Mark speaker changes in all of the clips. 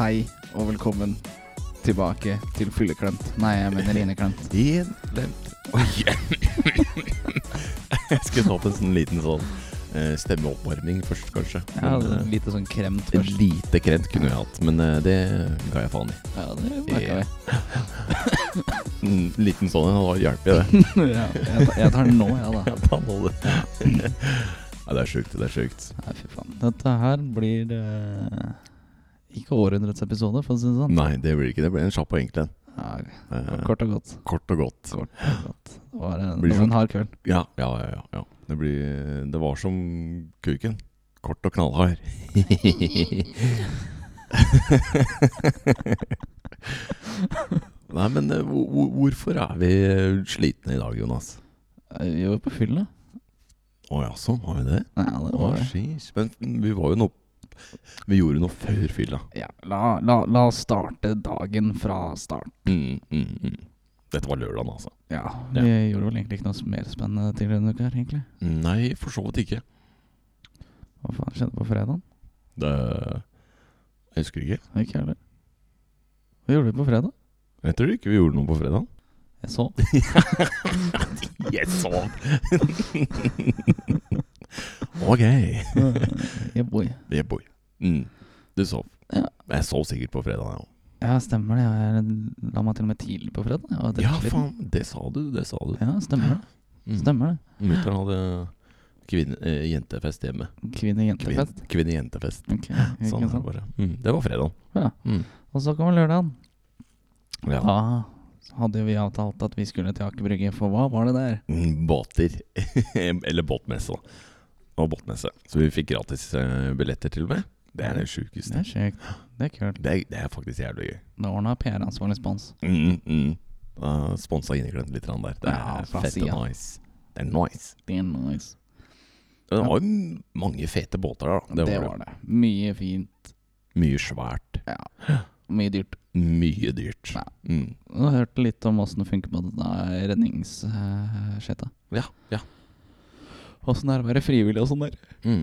Speaker 1: og velkommen tilbake til Fylleklemt. Nei, jeg mener inneklemt.
Speaker 2: Innlemt Jeg skulle ta på en sånn liten sånn eh, stemmeoppvarming først, kanskje.
Speaker 1: Jeg
Speaker 2: Men,
Speaker 1: hadde
Speaker 2: eh,
Speaker 1: litt sånn kremt
Speaker 2: et
Speaker 1: først.
Speaker 2: lite krent kunne jeg hatt, men eh, det ga jeg faen i.
Speaker 1: Ja, det merka vi.
Speaker 2: En liten sånn en hadde hjulpet, det.
Speaker 1: Ja, jeg, tar, jeg tar den nå, jeg, da.
Speaker 2: Ta nå det. Nei, det er sjukt. Det er sjukt.
Speaker 1: Nei, fy faen. Dette her blir eh, ikke århundrets episode, for å si det sånn.
Speaker 2: Nei, det blir ikke det. Det blir en kjapp og enkel en.
Speaker 1: Ja,
Speaker 2: Eh,
Speaker 1: kort og godt.
Speaker 2: Kort og godt.
Speaker 1: Kort og godt. Det var en,
Speaker 2: Blir
Speaker 1: det var en hard kveld.
Speaker 2: Ja, ja, ja. ja, ja. Det, blir, det var som kuken. Kort og knallhard. Nei, men eh, hvor- hvor- hvorfor er vi eh, slitne i dag, Jonas?
Speaker 1: Eh, Vi var på fylla.
Speaker 2: Å jaså, var vi det?
Speaker 1: Nei, ja, det
Speaker 2: Å,
Speaker 1: var det.
Speaker 2: sheesh. Men vi var jo noe Vi gjorde noe før fylla.
Speaker 1: Ja, la, la, la oss starte dagen fra start.
Speaker 2: Mm, mm, mm. Dette var lørdagen, altså.
Speaker 1: Ja, vi
Speaker 2: Ja.
Speaker 1: gjorde vel egentlig ikke noe mer spennende tidligere denne uka her, egentlig.
Speaker 2: Nei, for så vidt ikke.
Speaker 1: Hva faen skjedde på fredagen?
Speaker 2: Det Jeg husker ikke.
Speaker 1: Ikke heller. Hva gjorde vi på fredag?
Speaker 2: Jeg tror ikke vi gjorde noe på fredag.
Speaker 1: Jeg så.
Speaker 2: Jeg sov. ok.
Speaker 1: Jeg bor.
Speaker 2: Jeg bor. Mm. Du sov.
Speaker 1: Ja.
Speaker 2: Jeg sov sikkert på fredag. jeg også.
Speaker 1: Ja, stemmer det. Jeg la meg til og med tidlig på fredag. Jeg var
Speaker 2: Ja,
Speaker 1: dritsliten.
Speaker 2: faen. Det sa du, det sa du. Mm.
Speaker 1: Ja, stemmer det. Stemmer det.
Speaker 2: Mutter'n hadde kvinne, eh, jentefest hjemme. Kvinne-
Speaker 1: Kvinne-jentefest.
Speaker 2: Kvinne-jentefest.
Speaker 1: Ok, ikke
Speaker 2: Sånn er det
Speaker 1: sant?
Speaker 2: bare. Mm. Det var fredag.
Speaker 1: Ja.
Speaker 2: Mm.
Speaker 1: Og så kommer lørdagen.
Speaker 2: Ja.
Speaker 1: Da hadde vi avtalt at vi skulle til Aker Brygge, for hva var det der?
Speaker 2: Mm, Båter. Eller båtmesse, da. Og båtmesse. Så vi fikk gratis eh, billetter til og med. Det er det
Speaker 1: Det
Speaker 2: sjukeste.
Speaker 1: er sjukt. Det er kult.
Speaker 2: Det, er- det er faktisk jævlig gøy.
Speaker 1: Det ordna PR-ansvarlig spons.
Speaker 2: Mm, mm. Uh, Sponsa inneklemt litt grann der. Det er
Speaker 1: Ja, fra
Speaker 2: fett
Speaker 1: siden.
Speaker 2: og nice. Det er nice.
Speaker 1: Det er nice.
Speaker 2: Det var jo mange fete båter der, da.
Speaker 1: Det var det. Mye fint.
Speaker 2: Mye svært.
Speaker 1: Mye dyrt.
Speaker 2: Mye dyrt.
Speaker 1: Ja.
Speaker 2: Mm.
Speaker 1: Og hørte litt om åssen det funker på denne redningsskøyta.
Speaker 2: Ja. ja.
Speaker 1: Åssen det er å være frivillig og sånn der.
Speaker 2: Mm.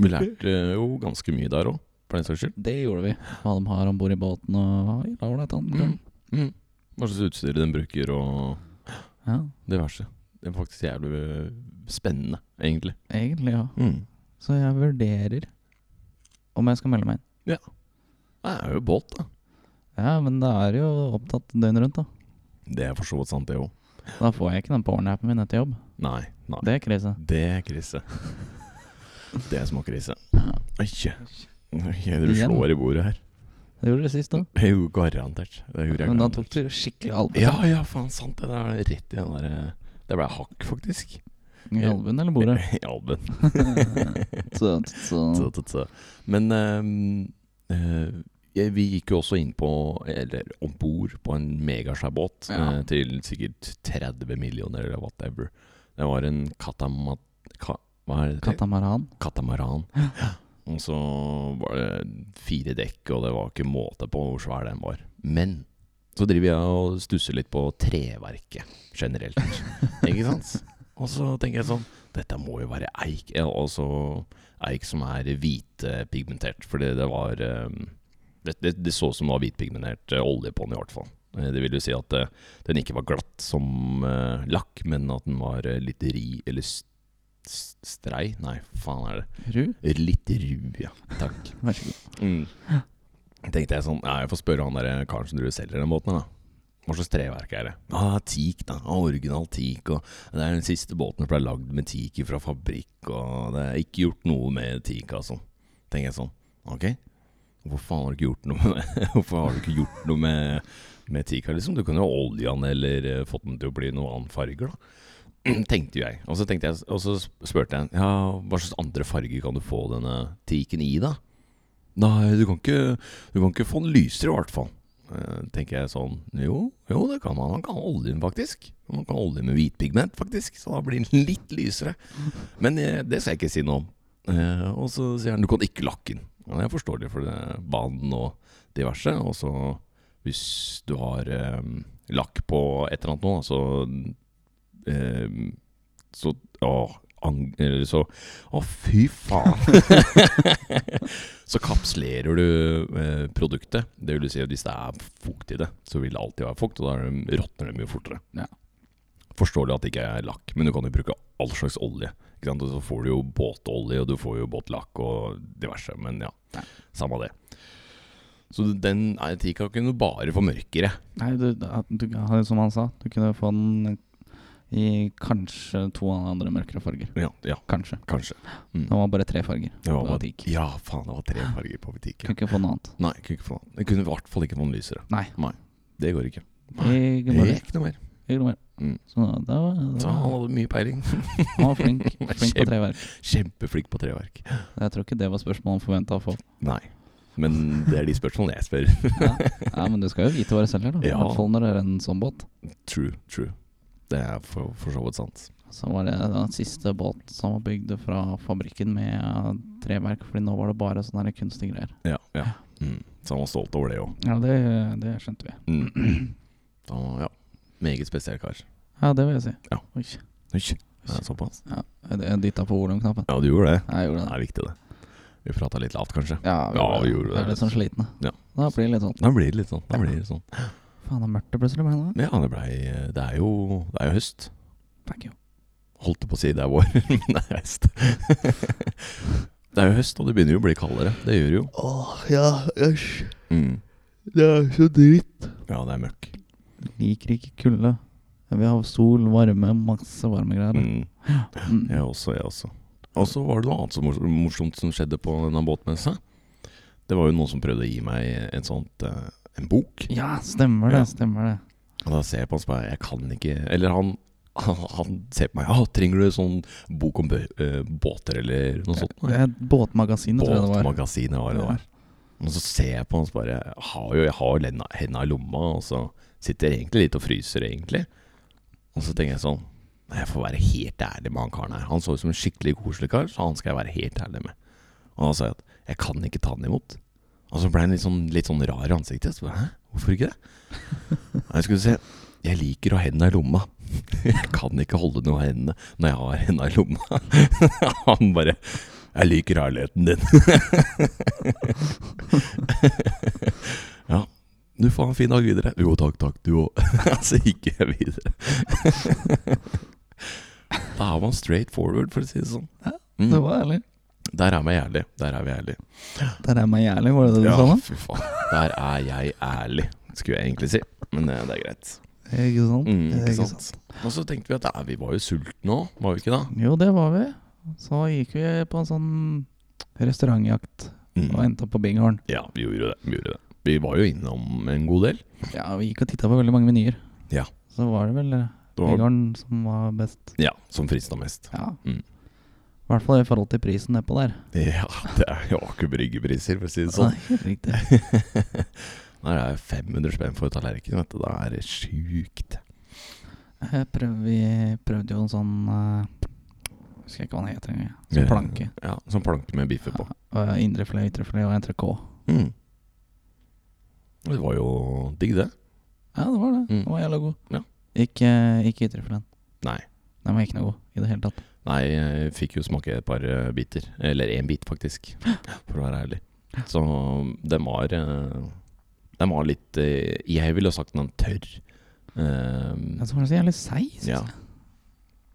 Speaker 2: Vi lærte eh, jo ganske mye der òg, for den saks skyld.
Speaker 1: Det gjorde vi. Hva de har om bord i båten og ja, ålreit.
Speaker 2: Mm.
Speaker 1: Mm.
Speaker 2: Mm. Hva slags utstyr den bruker, og
Speaker 1: Ja,
Speaker 2: diverse. Det er faktisk jævlig eh, spennende, egentlig.
Speaker 1: egentlig, ja.
Speaker 2: Mm.
Speaker 1: Så jeg vurderer om jeg skal melde meg inn.
Speaker 2: Det er jo båt, da.
Speaker 1: Ja, men det er jo opptatt døgnet rundt, da.
Speaker 2: Det er for så vidt sant, det òg.
Speaker 1: Da får jeg ikke den pornappen min etter jobb.
Speaker 2: Nei. nei.
Speaker 1: Det er krise.
Speaker 2: Det er krise. Det er småkrise.
Speaker 1: Ja.
Speaker 2: Oi, Oi, du
Speaker 1: Igjen.
Speaker 2: slår i bordet her.
Speaker 1: Det gjorde du sist òg.
Speaker 2: Det er jo garantert. Det gjorde jeg
Speaker 1: Men da
Speaker 2: garantert.
Speaker 1: tok du skikkelig albuen.
Speaker 2: Ja, ja, faen, sant det. Det er rett i den der eh, Det ble hakk, faktisk.
Speaker 1: I albuen eller bordet.
Speaker 2: I albuen.
Speaker 1: så, så.
Speaker 2: Så, så, så. Men eh, eh, jeg- vi gikk jo også inn på, eller om bord på en megasvær båt
Speaker 1: Ja.
Speaker 2: eh, til sikkert 30 millioner eller whatever. Det var en katama... Ka, hva er det?
Speaker 1: Katamaran.
Speaker 2: katamaran. Og så var det fire dekk, og det var ikke måte på hvor svær den var. Men så driver jeg og stusser litt på treverket generelt. ikke sant? Og så tenker jeg sånn Dette må jo være eik. Ja, Og så eik som er hvitpigmentert. Fordi det var eh, det, det, det så ut som det var hvitpigmentert eh, olje på den, i hvert fall. Eh, Det vil jo si at eh, den ikke var glatt som eh, lakk, men at den var eh, litt ri eller s- s- strei. Nei, faen er det.
Speaker 1: Ru.
Speaker 2: Litt ru, ja. Takk.
Speaker 1: Vær så god.
Speaker 2: Mm. Tenkte jeg sånn ja, Jeg får spørre han der karen som driver og selger den båten, her, da. Hva slags treverk er det? Ja, ah, teak, da. Ah, original teak. Og det er den siste båten som ble lagd med teak fra fabrikk, og det er ikke gjort noe med teak, altså. Tenker jeg sånn. Ok, hvorfor faen har du ikke gjort noe med Hvorfor har du ikke gjort noe med, med teaka, liksom? Du kunne jo olja den, eller eh, fått den til å bli noen annen farger, da. tenkte jo jeg. Og så tenkte jeg, og så spurte jeg Ja, hva slags andre farger kan du få denne teaken i, da? Nei, du kan ikke, du kan ikke få den lysere i hvert fall. Eh, tenker jeg sånn Jo, jo, det kan man. Man kan olje den faktisk. Man kan olje med hvit pigment, faktisk. Så da blir den litt lysere. Men eh, det skal jeg ikke si noe om. Eh, og så sier han du kan ikke lakke den. Ja, jeg forstår det, for det er vann og diverse. Og så hvis du har eh, lakk på et eller annet nå, så eh, Så å, ang- eller Så Å, fy faen! så kapslerer du eh, produktet. Det vil si at hvis det er fukt i det, så vil det alltid være fukt, og da er det- råtner det mye fortere.
Speaker 1: Ja.
Speaker 2: Forståelig at det ikke er lakk, men du kan jo bruke all slags olje. Ikke sant? Og så får du jo båtolje, og du får jo båtlakk og diverse, men ja.
Speaker 1: Ja.
Speaker 2: Samme det. Så den nei, tika kunne bare få mørkere.
Speaker 1: Nei, du, at du, han- som han sa, du kunne få den i kanskje to andre mørkere farger.
Speaker 2: Ja, ja
Speaker 1: Kanskje.
Speaker 2: kanskje. Mm.
Speaker 1: Det var bare tre farger.
Speaker 2: Det var,
Speaker 1: Det var teak.
Speaker 2: Ja, faen, det var tre farger på
Speaker 1: Kunne
Speaker 2: butikken.
Speaker 1: ikke få noe annet.
Speaker 2: Nei, kunne ikke få den. Jeg kunne i hvert fall ikke få den lysere.
Speaker 1: Nei.
Speaker 2: Det går ikke.
Speaker 1: Ikke noe mer.
Speaker 2: Ikke noe mer.
Speaker 1: Ikke noe mer.
Speaker 2: Mm.
Speaker 1: Så da var, da
Speaker 2: Så han
Speaker 1: var
Speaker 2: hadde mye peiling.
Speaker 1: han var flink. Flink på treverk.
Speaker 2: Kjempeflink på treverk.
Speaker 1: Jeg tror ikke det var spørsmålet han forventa å få.
Speaker 2: Nei. Men det er de spørsmålene jeg spør.
Speaker 1: Ja. ja, Men du skal jo vite hva du selger, da. I
Speaker 2: Ja.
Speaker 1: hvert fall når det er en sånn båt.
Speaker 2: True, true. Det er for, for så vidt sant.
Speaker 1: Så var det den siste båt som var bygd fra fabrikken med eh, treverk, Fordi nå var det bare sånne her kunstige greier.
Speaker 2: Ja, ja. Mm. Så han var stolt over det òg.
Speaker 1: Ja, det, det skjønte vi.
Speaker 2: Mm. Så han var- Ja. Meget spesiell kar.
Speaker 1: Ja, det vil jeg si.
Speaker 2: Ja.
Speaker 1: Oi.
Speaker 2: Oi, det er såpass.
Speaker 1: Ja, jeg dytta på volumknappen.
Speaker 2: Ja, du gjorde det.
Speaker 1: Ja, Jeg gjorde
Speaker 2: Det
Speaker 1: det.
Speaker 2: er viktig, det. Vi prata litt lavt, kanskje.
Speaker 1: Ja,
Speaker 2: Ja, vi gjorde det.
Speaker 1: Jeg er litt sånn slitne.
Speaker 2: Ja.
Speaker 1: Da blir det litt sånn
Speaker 2: Da blir det litt sånn. Da blir det sånn.
Speaker 1: Faen, det er mørkt det plutselig ble nå.
Speaker 2: Men ja, det blei Det er jo, det er jo høst.
Speaker 1: Fuck you.
Speaker 2: Holdt på å si det er vår, men det er høst. det er jo høst, og det begynner jo å bli kaldere. Det gjør det jo.
Speaker 3: Åh, ja, æsj.
Speaker 2: Mm.
Speaker 3: Det er så dritt.
Speaker 2: Ja, det er møkk.
Speaker 1: Liker ikke kulde. Jeg vil ha sol, varme, masse varmegreier.
Speaker 2: Mm.
Speaker 1: Mm.
Speaker 2: Jeg også, jeg også. Og så var det noe annet som mors- morsomt som skjedde på denne båtmessa. Det var jo noen som prøvde å gi meg en sånt eh, en bok.
Speaker 1: Ja, stemmer det.
Speaker 2: Ja.
Speaker 1: Stemmer det.
Speaker 2: Og da ser jeg på han og spør jeg kan ikke Eller han, han, han ser på meg Ja, trenger du sånn bok om bø eh, båter eller noe sånt?
Speaker 1: Det er et båtmagasin, tror jeg det var.
Speaker 2: Båtmagasinet var det der. Og så ser jeg på han og så bare jeg har jo, Jeg har jo lenda- henda i lomma, og så sitter jeg egentlig litt og fryser, egentlig. Og så tenker jeg sånn Nei, jeg får være helt ærlig med han karen her. Han så ut som en skikkelig koselig kar, så han skal jeg være helt ærlig med. Og da sa jeg at jeg kan ikke ta han imot. Og så ble han litt sånn, litt sånn rar i ansiktet. Så bare, Hæ, hvorfor ikke det? Nei, skal du se. Jeg liker å ha hendene i lomma. Jeg kan ikke holde noe i hendene når jeg har hendene i lomma. Han bare jeg liker ærligheten din. ja. Du får ha en fin dag videre. Jo, takk, takk, du òg. Så gikk jeg videre. da er man straight forward, for å si det sånn. Mm.
Speaker 1: Det var ærlig.
Speaker 2: Der er vi ærlig. Der er vi ærlig.
Speaker 1: Der er meg jævlig, var det det du sa nå?
Speaker 2: fy faen. Der er jeg ærlig, skulle jeg egentlig si. Men eh, det er greit.
Speaker 1: Ikke sant?
Speaker 2: Mm,
Speaker 1: Det er
Speaker 2: ikke sant? Og så tenkte vi at ja, vi var jo sultne òg, var vi ikke da?
Speaker 1: Jo, det var vi. Så gikk vi på en sånn restaurantjakt og
Speaker 2: Mm.
Speaker 1: endte opp på Bighorn.
Speaker 2: Ja, vi gjorde det. Vi gjorde det. Vi var jo innom en god del.
Speaker 1: Ja, vi gikk og titta på veldig mange menyer.
Speaker 2: Ja.
Speaker 1: Så var det vel
Speaker 2: Det var
Speaker 1: Bighorn som var best.
Speaker 2: Ja, som frista mest.
Speaker 1: Ja.
Speaker 2: Mm.
Speaker 1: I hvert fall i forhold til prisen nedpå der.
Speaker 2: Ja, det er jo ikke bryggepriser, for å si det sånn.
Speaker 1: Nei, riktig.
Speaker 2: Nei, det er 500 spenn for tallerken, vet du. Det er det sjukt.
Speaker 1: Jeg Eh, prøv, vi prøvde jo en sånn eh, Husker jeg ikke hva den heter engang.
Speaker 2: Ja.
Speaker 1: Sånn planke.
Speaker 2: Ja, som planke med biffer på.
Speaker 1: Ja, og eh, Indrefilet, ytrefilet og entrecôte.
Speaker 2: Mm. Det var jo digg, det.
Speaker 1: Ja, det var det.
Speaker 2: Mm.
Speaker 1: Den var jævla god.
Speaker 2: Ja.
Speaker 1: Ikke, ikke ytrefileten.
Speaker 2: Nei.
Speaker 1: Den var ikke noe god i det hele tatt.
Speaker 2: Nei, jeg fikk jo smake et par eh, biter. Eller én bit, faktisk, for å være ærlig. Så den var eh, Den var litt eh, Jeg ville ha sagt den tørr. Eh,
Speaker 1: Men så var den så jævlig seig. synes
Speaker 2: ja.
Speaker 1: jeg.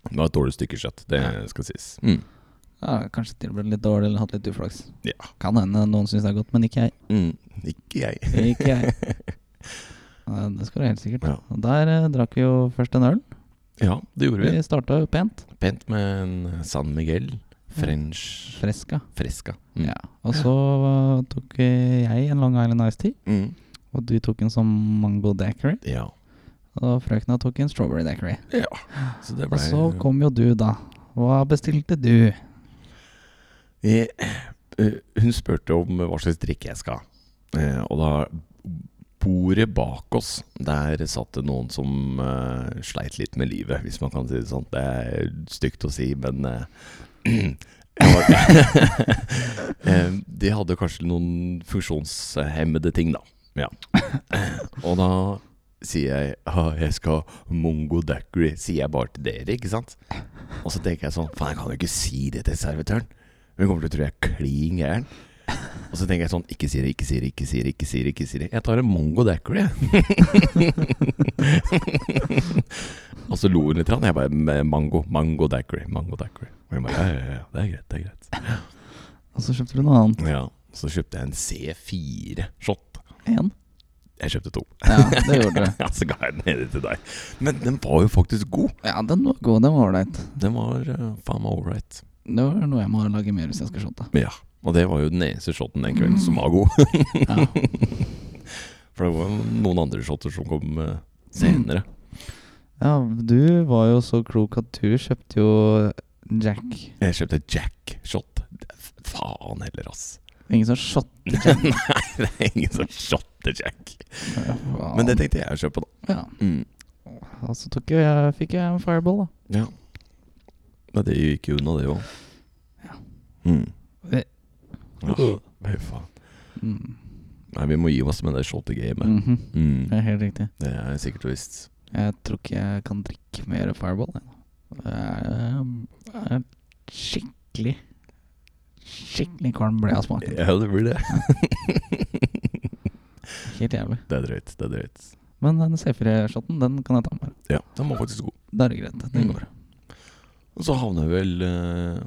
Speaker 2: Det var et dårlig stykke kjøtt, det skal sies. Mm.
Speaker 1: Ja, kanskje til og med litt dårlig eller hatt litt uflaks.
Speaker 2: Ja.
Speaker 1: Kan hende noen syns det er godt, men ikke jeg.
Speaker 2: Mm. Ikke jeg.
Speaker 1: Ikke jeg. Ja, Det skal du helt sikkert.
Speaker 2: Ja.
Speaker 1: Og Der eh, drakk vi jo først en øl.
Speaker 2: Ja, det gjorde vi.
Speaker 1: Vi starta jo pent.
Speaker 2: Pent med en San Miguel French
Speaker 1: Freska.
Speaker 2: Fresca. Mm.
Speaker 1: Ja. Og så eh, tok eh, jeg en Long Island Ice Tea,
Speaker 2: Mm.
Speaker 1: og du tok en som mango daiquiri.
Speaker 2: ja.
Speaker 1: Og frøkna tok en strawberry daiquiri.
Speaker 2: Så det
Speaker 1: Og
Speaker 2: ble
Speaker 1: så kom jo du, da. Hva bestilte du?
Speaker 2: Jeg, eh, Hun spurte om hva slags drikke jeg skal ha. Eh, og da Bordet bak oss, der satt det noen som eh, sleit litt med livet, hvis man kan si det sånn. Det er stygt å si, men eh, jeg var, Eh, De hadde kanskje noen funksjonshemmede ting, da. Ja. Eh, Og da sier jeg ah, jeg skal ha mongo daiquiri, sier jeg bare til dere, ikke sant? Og så tenker jeg sånn, faen, jeg kan jo ikke si det til servitøren. Hun kommer til å tro jeg er klin gæren. Og så tenker jeg sånn, ikke si det, ikke si det, ikke si det, ikke si det. ikke si det. Jeg tar en mongo daiquiri, jeg. og så lo hun litt, og jeg bare "Men, mango, mango daiquiri, mango daiquiri. Og hun bare ja, ja, ja, det er greit, det er greit.
Speaker 1: Og så kjøpte du noe annet.
Speaker 2: Ja, Så kjøpte jeg en C4-shot.
Speaker 1: Én?
Speaker 2: Jeg kjøpte to.
Speaker 1: Ja, det gjorde du.
Speaker 2: Ja, så ga jeg den nede til deg. Men den var jo faktisk god.
Speaker 1: Ja, den var god. Den var ålreit.
Speaker 2: Den var eh, faen meg ålreit.
Speaker 1: Det var noe jeg må lage mer hvis jeg skal shotte.
Speaker 2: Ja. Og det var jo den eneste shoten den kvelden som var god.
Speaker 1: Ja.
Speaker 2: For det var jo noen andre shotter som kom eh, senere.
Speaker 1: ja, du var jo så klok at du kjøpte jo Jack.
Speaker 2: Jeg kjøpte Jack-shot. Faen heller, ass.
Speaker 1: Ingen som shot.
Speaker 2: Nei, det er ingen som shotter Jack.
Speaker 1: Ja, faen.
Speaker 2: Men det tenkte jeg å kjøpe, da.
Speaker 1: Ja.
Speaker 2: Mm.
Speaker 1: Og så tok jeg, fikk jeg en fireball, da.
Speaker 2: Ja. Men det gikk jo unna, det òg.
Speaker 1: Ja.
Speaker 2: Mm.
Speaker 1: Eh.
Speaker 2: Ja, Fy faen.
Speaker 1: Mm.
Speaker 2: Nei, vi må gi oss med det shot-gamet.
Speaker 1: Mhm.
Speaker 2: Mm.
Speaker 1: Det er helt riktig.
Speaker 2: Det er sikkert og visst.
Speaker 1: Jeg tror ikke jeg kan drikke mer fireball. jeg, nå. Jeg er- jeg er skikkelig Skikkelig kvalm ble jeg av smaken.
Speaker 2: Ja, det blir det.
Speaker 1: Helt jævlig.
Speaker 2: Det er drøyt. Det er drøyt.
Speaker 1: Men den C4-shoten, den kan jeg ta med meg.
Speaker 2: Ja, den var faktisk god.
Speaker 1: Da er det greit. Det
Speaker 2: Mm.
Speaker 1: går.
Speaker 2: Og så havna jeg vel eh,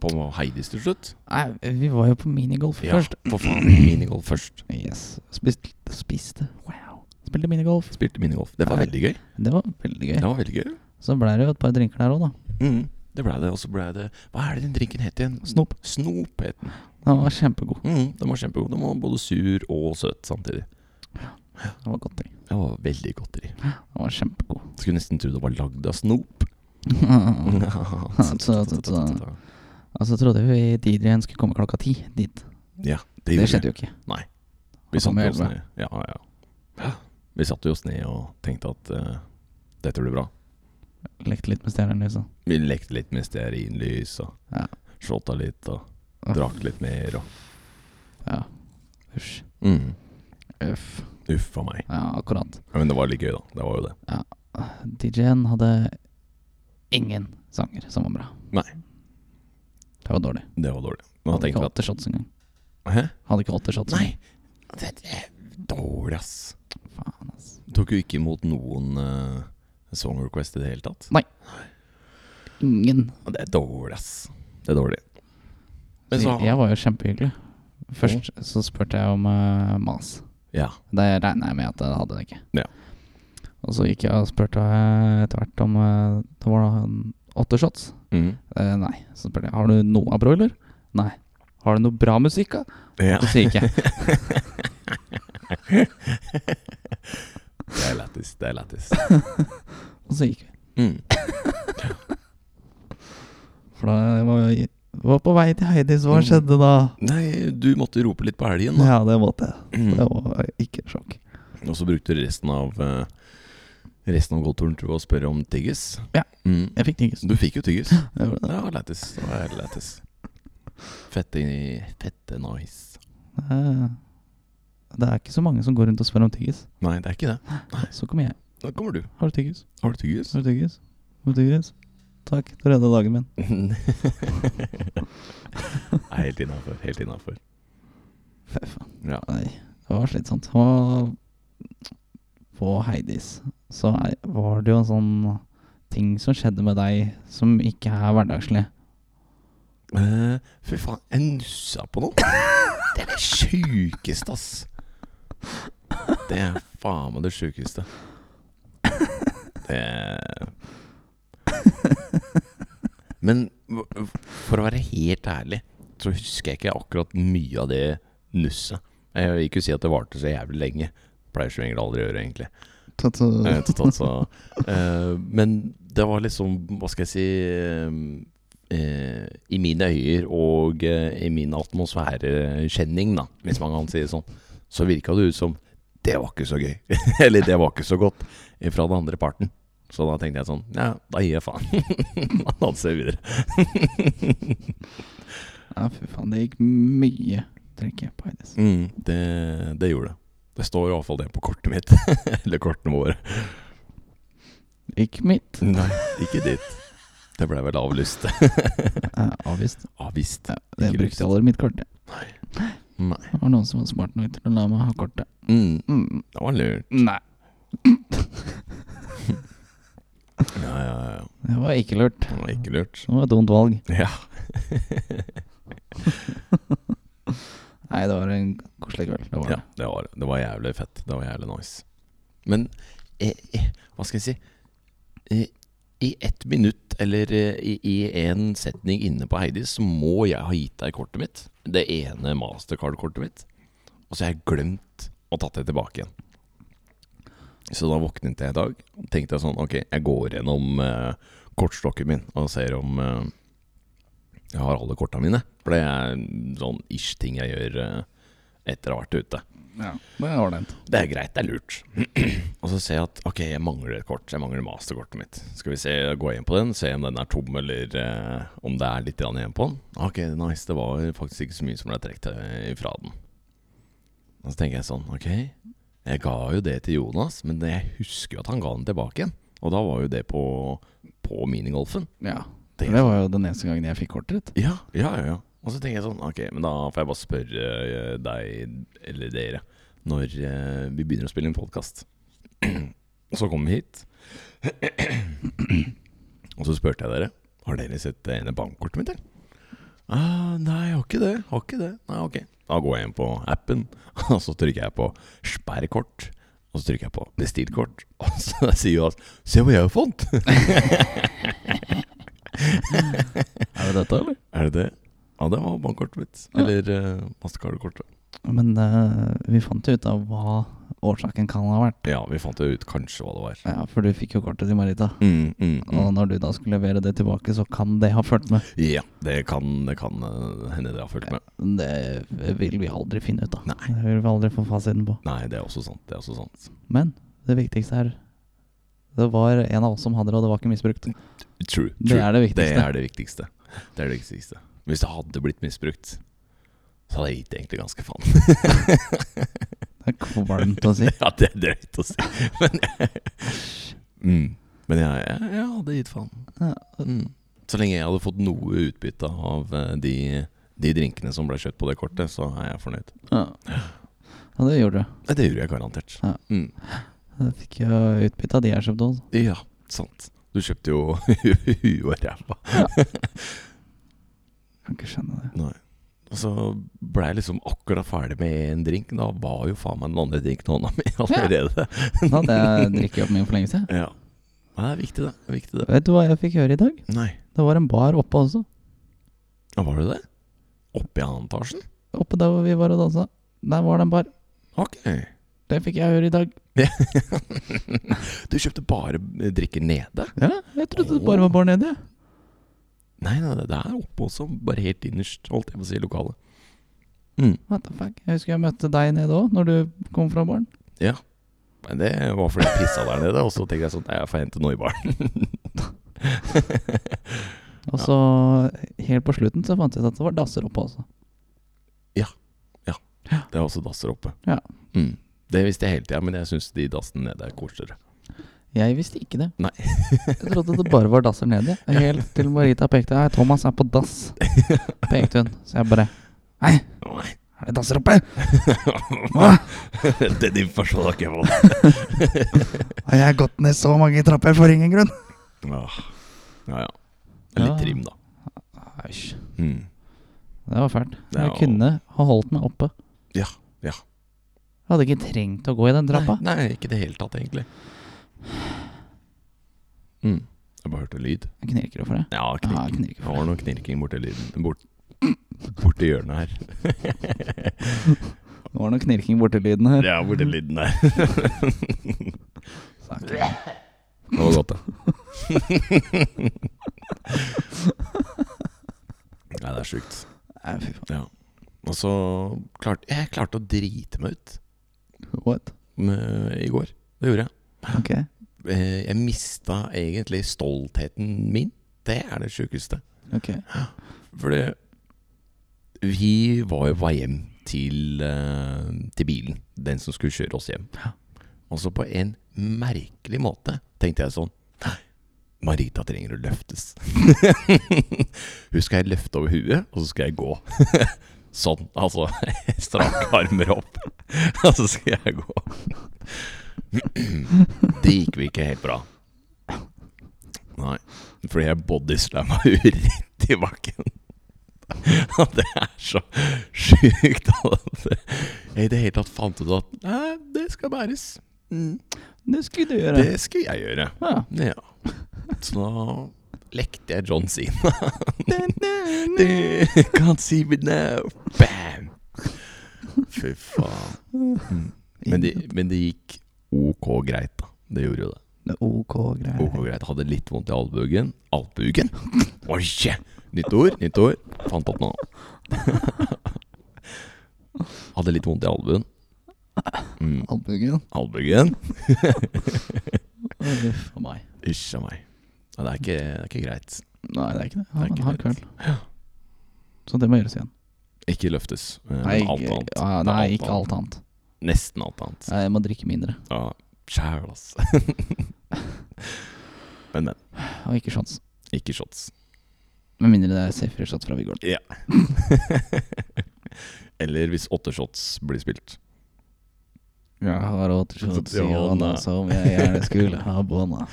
Speaker 2: på Heidis til slutt.
Speaker 1: Nei, vi var jo på minigolf først.
Speaker 2: for faen. Minigolf først.
Speaker 1: Yes. Spiste, spiste. Wow. Spilte minigolf.
Speaker 2: Spilte minigolf. Det var
Speaker 1: Nei.
Speaker 2: veldig gøy.
Speaker 1: Det var veldig gøy.
Speaker 2: Det var veldig gøy.
Speaker 1: Så ble det jo et par drinker der òg, da.
Speaker 2: Mm. Det blei det. Og så blei det Hva er det den drinken het igjen?
Speaker 1: Snop.
Speaker 2: Snop het den.
Speaker 1: Den var kjempegod.
Speaker 2: Mm, den var kjempegod. Den var både sur og søt samtidig.
Speaker 1: Den var godteri.
Speaker 2: Det var veldig godteri.
Speaker 1: Den var kjempegod.
Speaker 2: Skulle nesten tro det var lagd av snop. Mm.
Speaker 1: Så- så- så- Og så trodde vi DJ-en skulle komme klokka ti dit.
Speaker 2: Ja, det,
Speaker 1: Det
Speaker 2: gjorde
Speaker 1: skjedde jo ikke.
Speaker 2: Vi
Speaker 1: Og så
Speaker 2: satte
Speaker 1: med
Speaker 2: jo oss
Speaker 1: elleve.
Speaker 2: ned. Ja, ja. Vi satte jo oss ned og tenkte at eh, dette blir bra.
Speaker 1: Lekte litt med stjernene, liksom.
Speaker 2: Vi lekte litt med stearinlys og
Speaker 1: Ja.
Speaker 2: shotta litt og
Speaker 1: Uff.
Speaker 2: drakk litt mer og
Speaker 1: Ja. Uff.
Speaker 2: mm.
Speaker 1: Uff.
Speaker 2: Uff a meg.
Speaker 1: Ja, akkurat.
Speaker 2: Ja, Men det var litt gøy, da. Det var jo det.
Speaker 1: DJ-en hadde ingen sanger som var bra.
Speaker 2: Nei.
Speaker 1: Det var dårlig.
Speaker 2: Det var dårlig. Men da
Speaker 1: Hadde ikke
Speaker 2: tenkte vi
Speaker 1: åtte shots engang.
Speaker 2: at Hæ?
Speaker 1: Hadde ikke åtte shots.
Speaker 2: Nei! Det er dårlig, ass.
Speaker 1: engang. Faen, ass.
Speaker 2: Tok jo ikke imot noen eh, song request i det hele tatt.
Speaker 1: Ingen.
Speaker 2: Og Det er dårlig, ass. Det er dårlig. Men så Mm.
Speaker 1: Jeg, jeg var jo kjempehyggelig. Først så spurte jeg om eh, mas.
Speaker 2: Ja.
Speaker 1: Det regna jeg med at jeg hadde det ikke.
Speaker 2: Ja.
Speaker 1: Og så gikk jeg og spurte eh, etter hvert om eh, Det var da en åtte shots.
Speaker 2: Mm.
Speaker 1: Eh, nei. Så spurte jeg har du noe av broiler. Nei. Har du noe bra musikk, da?
Speaker 2: ja.
Speaker 1: Så sier ikke jeg.
Speaker 2: Det er lættis. Det er lættis.
Speaker 1: Og så gikk vi.
Speaker 2: Mm.
Speaker 1: For da var jeg var på vei til Heidis. Hva
Speaker 2: Mm.
Speaker 1: skjedde da?
Speaker 2: Nei, du måtte rope litt på elgen, da.
Speaker 1: Ja, det måtte jeg.
Speaker 2: Mm.
Speaker 1: Det var ikke sjokk.
Speaker 2: Og så brukte du resten av eh, Resten av gåturen til å spørre om tyggis.
Speaker 1: Ja.
Speaker 2: Mm.
Speaker 1: Jeg fikk tyggis.
Speaker 2: Du fikk jo tyggis.
Speaker 1: Jeg gjorde det.
Speaker 2: Ja, lættis. Mm. Det var lættis. Fette, fette nice.
Speaker 1: Eh, Det er ikke så mange som går rundt og spør om tyggis.
Speaker 2: Nei, det er ikke det.
Speaker 1: Så kommer jeg.
Speaker 2: Da kommer du.
Speaker 1: Har du tyggis?
Speaker 2: Har du tyggis?
Speaker 1: Har du tyggis? Har du tyggis? Takk, du redda dagen min.
Speaker 2: Nei, helt innafor. Helt innafor.
Speaker 1: Fy faen.
Speaker 2: Ja.
Speaker 1: Nei, det var slitsomt. Og på Heidis så er, var det jo en sånn ting som skjedde med deg som ikke er hverdagslig.
Speaker 2: Eh, fy faen, jeg nussa på noen. Det er det sjukeste, ass. Det er faen meg det sjukeste. Det Men v- for å være helt ærlig, så husker jeg ikke akkurat mye av det nusset. Jeg vil ikke si at det varte så jævlig lenge. Pleier som regel aldri å gjøre, egentlig. Eh, totalt så eh, Men det var liksom, hva skal jeg si eh, eh, I mine øyer og eh, i min atmosfærekjenning, da, hvis man kan si det sånn, så virka det ut som det var ikke så gøy. Eller det var ikke så godt fra den andre parten. Så da tenkte jeg sånn Ja, da gir jeg faen. da danser jeg videre.
Speaker 1: Ja, fy faen, det gikk mye drikke på Heidis.
Speaker 2: Mm, det, det gjorde det. Det står iallfall det på kortet mitt. Eller kortene våre.
Speaker 1: Ikke mitt.
Speaker 2: Nei, ikke ditt. Det ble vel avlyst.
Speaker 1: Eh, avvist.
Speaker 2: Avvist.
Speaker 1: Ja, det
Speaker 2: Ikke lyst.
Speaker 1: brukte jeg aldri mitt kortet.
Speaker 2: Nei.
Speaker 1: Det var noen som var smart nok til å la meg ha kortet.
Speaker 2: Mm,
Speaker 1: Mm.
Speaker 2: det var lurt.
Speaker 1: Nei,
Speaker 2: Ja, ja, ja.
Speaker 1: det var ikke lurt.
Speaker 2: Det var ikke lurt.
Speaker 1: Det var et dumt valg.
Speaker 2: Ja.
Speaker 1: Nei, det var en koselig kveld. Det var
Speaker 2: ja, det var det. Det var jævlig fett. Det var jævlig nice. Men eh, eh, hva skal jeg si eh, I ett minutt eller eh, i, i en setning inne på Heidis så må jeg ha gitt deg kortet mitt. Det ene mastercard-kortet mitt. Og så har jeg glemt å tatt det tilbake igjen. Så da våknet jeg i dag og tenkte jeg sånn Ok, jeg går gjennom eh, kortstokken min og ser om eh, jeg har alle korta mine. For det er en sånn ish-ting jeg gjør eh, etter å ha vært ute.
Speaker 1: det. Ja, det er ålreit.
Speaker 2: Det er greit, det er lurt. og så ser jeg at ok, jeg mangler et kort. Jeg mangler masterkortet mitt. Skal vi se, gå inn på den, se om den er tom, eller eh, om det er litt grann igjen på den. Ah, Ok, nice, det var faktisk ikke så mye som ble trukket eh, ifra den. Og så tenker jeg sånn, ok, jeg ga jo det til Jonas, men jeg husker jo at han ga den tilbake igjen. Og da var jo det på, på minigolfen.
Speaker 1: Ja.
Speaker 2: Tenker jeg
Speaker 1: Det var jo den eneste gangen jeg fikk kortet ditt.
Speaker 2: ja, ja, ja, ja. Og så tenker jeg sånn, ok, men da får jeg bare spørre eh, deg, eller dere, når eh, vi begynner å spille en podcast. Og så kom vi hit. Og så spørte jeg dere, har dere sett eh, det ene bankkortet mitt, eller? Ah, nei, jeg har ikke det, jeg har ikke det. Nei, ok. Da går jeg inn på appen, og så trykker jeg på sperrekort. Og så trykker jeg på bestilt kort. Og så sier Jonas, se hva jeg har fått.
Speaker 1: Er det dette, eller?
Speaker 2: Er det det? Ja, det var bankkortet mitt.
Speaker 1: Ja.
Speaker 2: Eller eh, Mastercard-kortet.
Speaker 1: Men eh, vi fant jo ut av hva årsaken kan ha vært.
Speaker 2: Ja, vi fant jo ut kanskje hva det var.
Speaker 1: Ja, For du fikk jo kortet til Marita.
Speaker 2: Mm, mm,
Speaker 1: Og
Speaker 2: mm.
Speaker 1: når du da skulle levere det tilbake, så kan det ha fulgt med.
Speaker 2: Ja, det kan, det kan eh, hende det har fulgt med.
Speaker 1: Det vil vi aldri finne ut av.
Speaker 2: Nei.
Speaker 1: Det vil vi aldri få fasiten på.
Speaker 2: Nei, det er også sant. Det er også sant.
Speaker 1: Men det viktigste er Det var en av oss som hadde det, og det var ikke misbrukt.
Speaker 2: True.
Speaker 1: Det er det
Speaker 2: Det
Speaker 1: viktigste.
Speaker 2: er det viktigste. Det er det viktigste. Hvis det hadde blitt misbrukt, så hadde jeg gitt egentlig ganske faen.
Speaker 1: Det er kvalmt å si.
Speaker 2: ja, det er drøyt å si. Men, mm. Men jeg, jeg, jeg hadde gitt faen.
Speaker 1: Ja.
Speaker 2: Mm. Så lenge jeg hadde fått noe utbytte av eh, de, de drinkene som ble kjøpt på det kortet, så er jeg fornøyd.
Speaker 1: Ja, Ja, det gjorde du.
Speaker 2: Nei, Det gjorde jeg garantert.
Speaker 1: Ja.
Speaker 2: Mm.
Speaker 1: Jeg fikk jo utbytte av de jeg kjøpte også.
Speaker 2: ja, sant. Du kjøpte jo huet og ræva.
Speaker 1: Kan ikke skjønne det.
Speaker 2: Nei. Og så ble jeg liksom akkurat ferdig med en drink. Da var jo faen meg den andre drinken i hånda mi allerede.
Speaker 1: Da hadde jeg drukket opp mye for lenge siden.
Speaker 2: Ja. Nei, det er viktig, det. det, er viktig, det.
Speaker 1: Vet du hva jeg fikk høre i dag?
Speaker 2: Nei.
Speaker 1: Det var en bar oppe også.
Speaker 2: Ja, Var det det? Oppe i annen etasjen?
Speaker 1: Oppe der hvor vi var og dansa. Der var det en bar.
Speaker 2: Ok.
Speaker 1: Det fikk jeg høre i dag.
Speaker 2: Du kjøpte bare eh, drikker nede?
Speaker 1: Ja, jeg trodde det bare var bar nede. jeg.
Speaker 2: Nei, nei, det er oppe også. Bare helt innerst, holdt jeg på å si, i lokalet. Mm.
Speaker 1: What the fuck? Jeg husker jeg møtte deg nede òg, når du kom fra baren.
Speaker 2: Men det var fordi jeg pissa der nede, og så tenkte jeg sånn Nei, jeg får hente noe i baren.
Speaker 1: Og så helt på slutten så fant jeg ut at det var dasser oppe også.
Speaker 2: Det er også dasser oppe.
Speaker 1: Ja.
Speaker 2: Mm. Det visste jeg hele tida, men jeg syns de dassene nede er koseligere.
Speaker 1: Jeg visste ikke det.
Speaker 2: Nei.
Speaker 1: jeg trodde det bare var dasser nedi. Helt til Marita pekte Hei, Thomas er på dass. Pekte hun. Så jeg bare Hei, er det dasser oppe?
Speaker 2: Den informasjonen har ikke jeg fått.
Speaker 3: Og jeg har gått ned så mange trapper for ingen grunn.
Speaker 2: Åh. Ja ja.
Speaker 1: Ja.
Speaker 2: Litt trim, da.
Speaker 1: Æsj.
Speaker 2: Mm.
Speaker 1: Det var fælt.
Speaker 2: Det
Speaker 1: Jeg
Speaker 2: var-
Speaker 1: kunne ha holdt meg oppe.
Speaker 2: Ja, ja.
Speaker 1: Jeg hadde ikke trengt å gå i den trappa.
Speaker 2: Nei, nei, ikke i det hele tatt, egentlig. Mm. Jeg bare hørte lyd.
Speaker 1: Jeg knirker jo for det.
Speaker 2: Ja,
Speaker 1: Ja, jeg
Speaker 2: knirking.
Speaker 1: knirker
Speaker 2: Det
Speaker 1: for det.
Speaker 2: var noe knirking borti lyden bort, Borti hjørnet her.
Speaker 1: Det var noe knirking borti lyden her.
Speaker 2: Ja, borti lyden her. Det var godt, det. Nei, det er sjukt.
Speaker 1: Nei, fy faen.
Speaker 2: Og så klarte jeg klarte å drite meg ut
Speaker 1: What?
Speaker 2: med, i går. Det gjorde jeg.
Speaker 1: Ok.
Speaker 2: Eh, Jeg mista egentlig stoltheten min. Det er det sjukeste.
Speaker 1: Ok.
Speaker 2: Fordi vi var jo på vei hjem til, eh, til bilen, den som skulle kjøre oss hjem.
Speaker 1: Ja.
Speaker 2: Og så på en merkelig måte tenkte jeg sånn Nei, Marita trenger å løftes. Hun skal jeg løfte over huet, og så skal jeg gå. sånn, altså. Strake armer opp, og så skal jeg gå. det gikk jo ikke helt bra. Nei, fordi jeg bodyslamma henne rett i bakken. Og det er så sjukt at jeg i det hele tatt fant ut at Nei, det skal bæres.
Speaker 1: Det skulle du gjøre.
Speaker 2: Det skal jeg gjøre.
Speaker 1: Ja.
Speaker 2: Ja. Så da lekte jeg John Cena. Du Can't see me now. Bam! Fy faen. Mm. Men det, men det gikk ok greit, da. Det gjorde jo det.
Speaker 1: Det er Ok greier.
Speaker 2: Ok greit. Hadde litt vondt i albuen. Albugen? Oi! Nytt ord, nytt ord. Fant opp noe. Hadde litt vondt i albuen. Mm.
Speaker 1: Albuen.
Speaker 2: Albuen.
Speaker 1: Å, Uff a meg.
Speaker 2: Hysj a meg. Ja, det, er ikke, det er ikke greit.
Speaker 1: Nei, det er ikke det.
Speaker 2: Det
Speaker 1: Ja,
Speaker 2: er
Speaker 1: men
Speaker 2: ikke
Speaker 1: hard
Speaker 2: greit.
Speaker 1: kveld. Så det må gjøres igjen.
Speaker 2: Ikke løftes. eh,
Speaker 1: Nei,
Speaker 2: men alt
Speaker 1: ikke-
Speaker 2: annet.
Speaker 1: ja,
Speaker 2: Det er
Speaker 1: nei,
Speaker 2: alt
Speaker 1: ikke alt annet.
Speaker 2: Nesten alt annet.
Speaker 1: Nei, Jeg må drikke mindre.
Speaker 2: Ja, Sjæl, ass. men, men.
Speaker 1: Og ikke shots.
Speaker 2: Ikke shots.
Speaker 1: Med mindre det er safer shots fra Vigården.
Speaker 2: Ja. Eller hvis åtte shots blir spilt.
Speaker 1: Jeg har åtte shots i
Speaker 2: Ja, nei.
Speaker 1: hånda som jeg gjerne skulle ha bånda.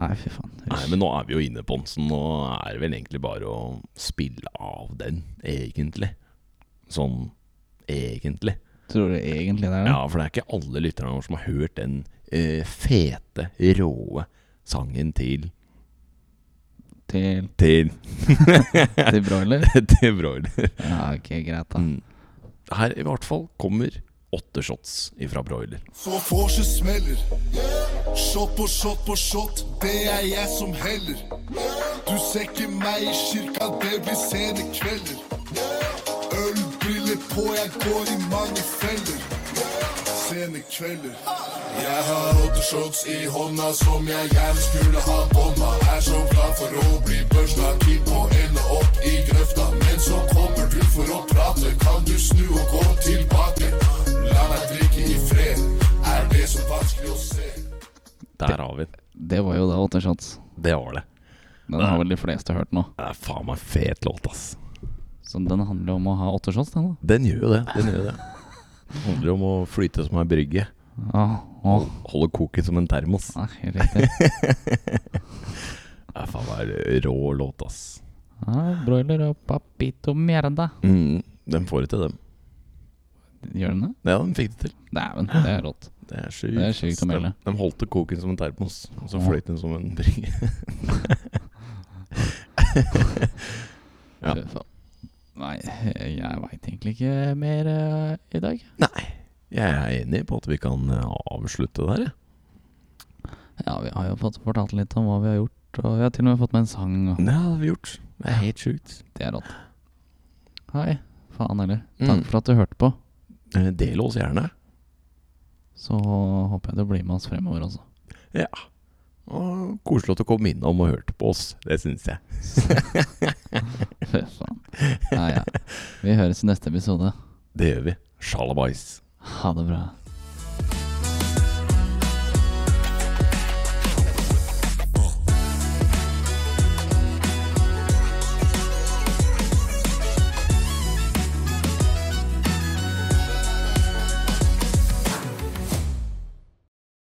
Speaker 1: Nei, fy faen.
Speaker 2: Nei, men nå er vi jo inne på den, så nå er det vel egentlig bare å spille av den, egentlig. Sånn egentlig.
Speaker 1: Tror du egentlig det er det?
Speaker 2: Ja, for det er ikke alle lytterne våre som har hørt den eh, fete, råe sangen til
Speaker 1: Til,
Speaker 2: Til,
Speaker 1: til broiler?
Speaker 2: til Broiler.
Speaker 1: Ja, ok, greit da.
Speaker 2: Mm. Her i hvert fall kommer åtte shots ifra Broiler.
Speaker 4: Så vorset smeller. Shot på shot på shot, det er jeg som heller. Du ser ikke meg i kirka, det blir sene kvelder. Ølbriller på, jeg går i mange feller. Sene kvelder. Jeg har åtte shots i hånda som jeg gjerne skulle ha bånda. Er så glad for å bli børsta, keen på å ende opp i grøfta. Men så kommer du for å prate, kan du snu og gå tilbake? La meg drikke i fred, er det så vanskelig å se?
Speaker 2: Der har vi den.
Speaker 1: Det var jo da åtte shots.
Speaker 2: Det var det.
Speaker 1: Den har vel de fleste hørt nå.
Speaker 2: Det er faen meg fet låt, ass.
Speaker 1: Så den handler om å ha åtte shots, den da.
Speaker 2: Den gjør jo det. Den gjør jo det. Handler om å flyte som ei brygge.
Speaker 1: Ja, å,
Speaker 2: Holde koken som en termos.
Speaker 1: nei, helt riktig.
Speaker 2: Det er faen meg rå låt, ass.
Speaker 1: Ja, broiler og papito mierda.
Speaker 2: Mm, den får det til, dem.
Speaker 1: Gjør den det?
Speaker 2: Ja, den fikk det til.
Speaker 1: Dæven, det er rått.
Speaker 2: Det er sjukt.
Speaker 1: Det er sjukt å
Speaker 2: ass.
Speaker 1: melde.
Speaker 2: De, de holdt koken som en termos, og så
Speaker 1: Ja.
Speaker 2: fløyt den som en brygge. Ja.
Speaker 1: Fy faen. Nei, jeg veit egentlig ikke mer eh, i dag.
Speaker 2: Nei, jeg er enig på at vi kan eh, avslutte der, jeg.
Speaker 1: Ja, vi har jo fått fortalt litt om hva vi har gjort, og vi har til og med fått med en sang. Og
Speaker 2: Det har vi gjort. Det er helt sjukt.
Speaker 1: det er rått. Hei. Faen heller.
Speaker 2: Mm.
Speaker 1: Takk for at du hørte på.
Speaker 2: Eh, Del oss gjerne.
Speaker 1: Så håper jeg du blir med oss fremover også.
Speaker 2: Ja. Og koselig at du kom innom og hørte på oss. Det syns jeg.
Speaker 1: Fy faen. Ja, ja. Vi høres i neste episode.
Speaker 2: Det gjør vi. Sjalabais.
Speaker 1: Ha det bra.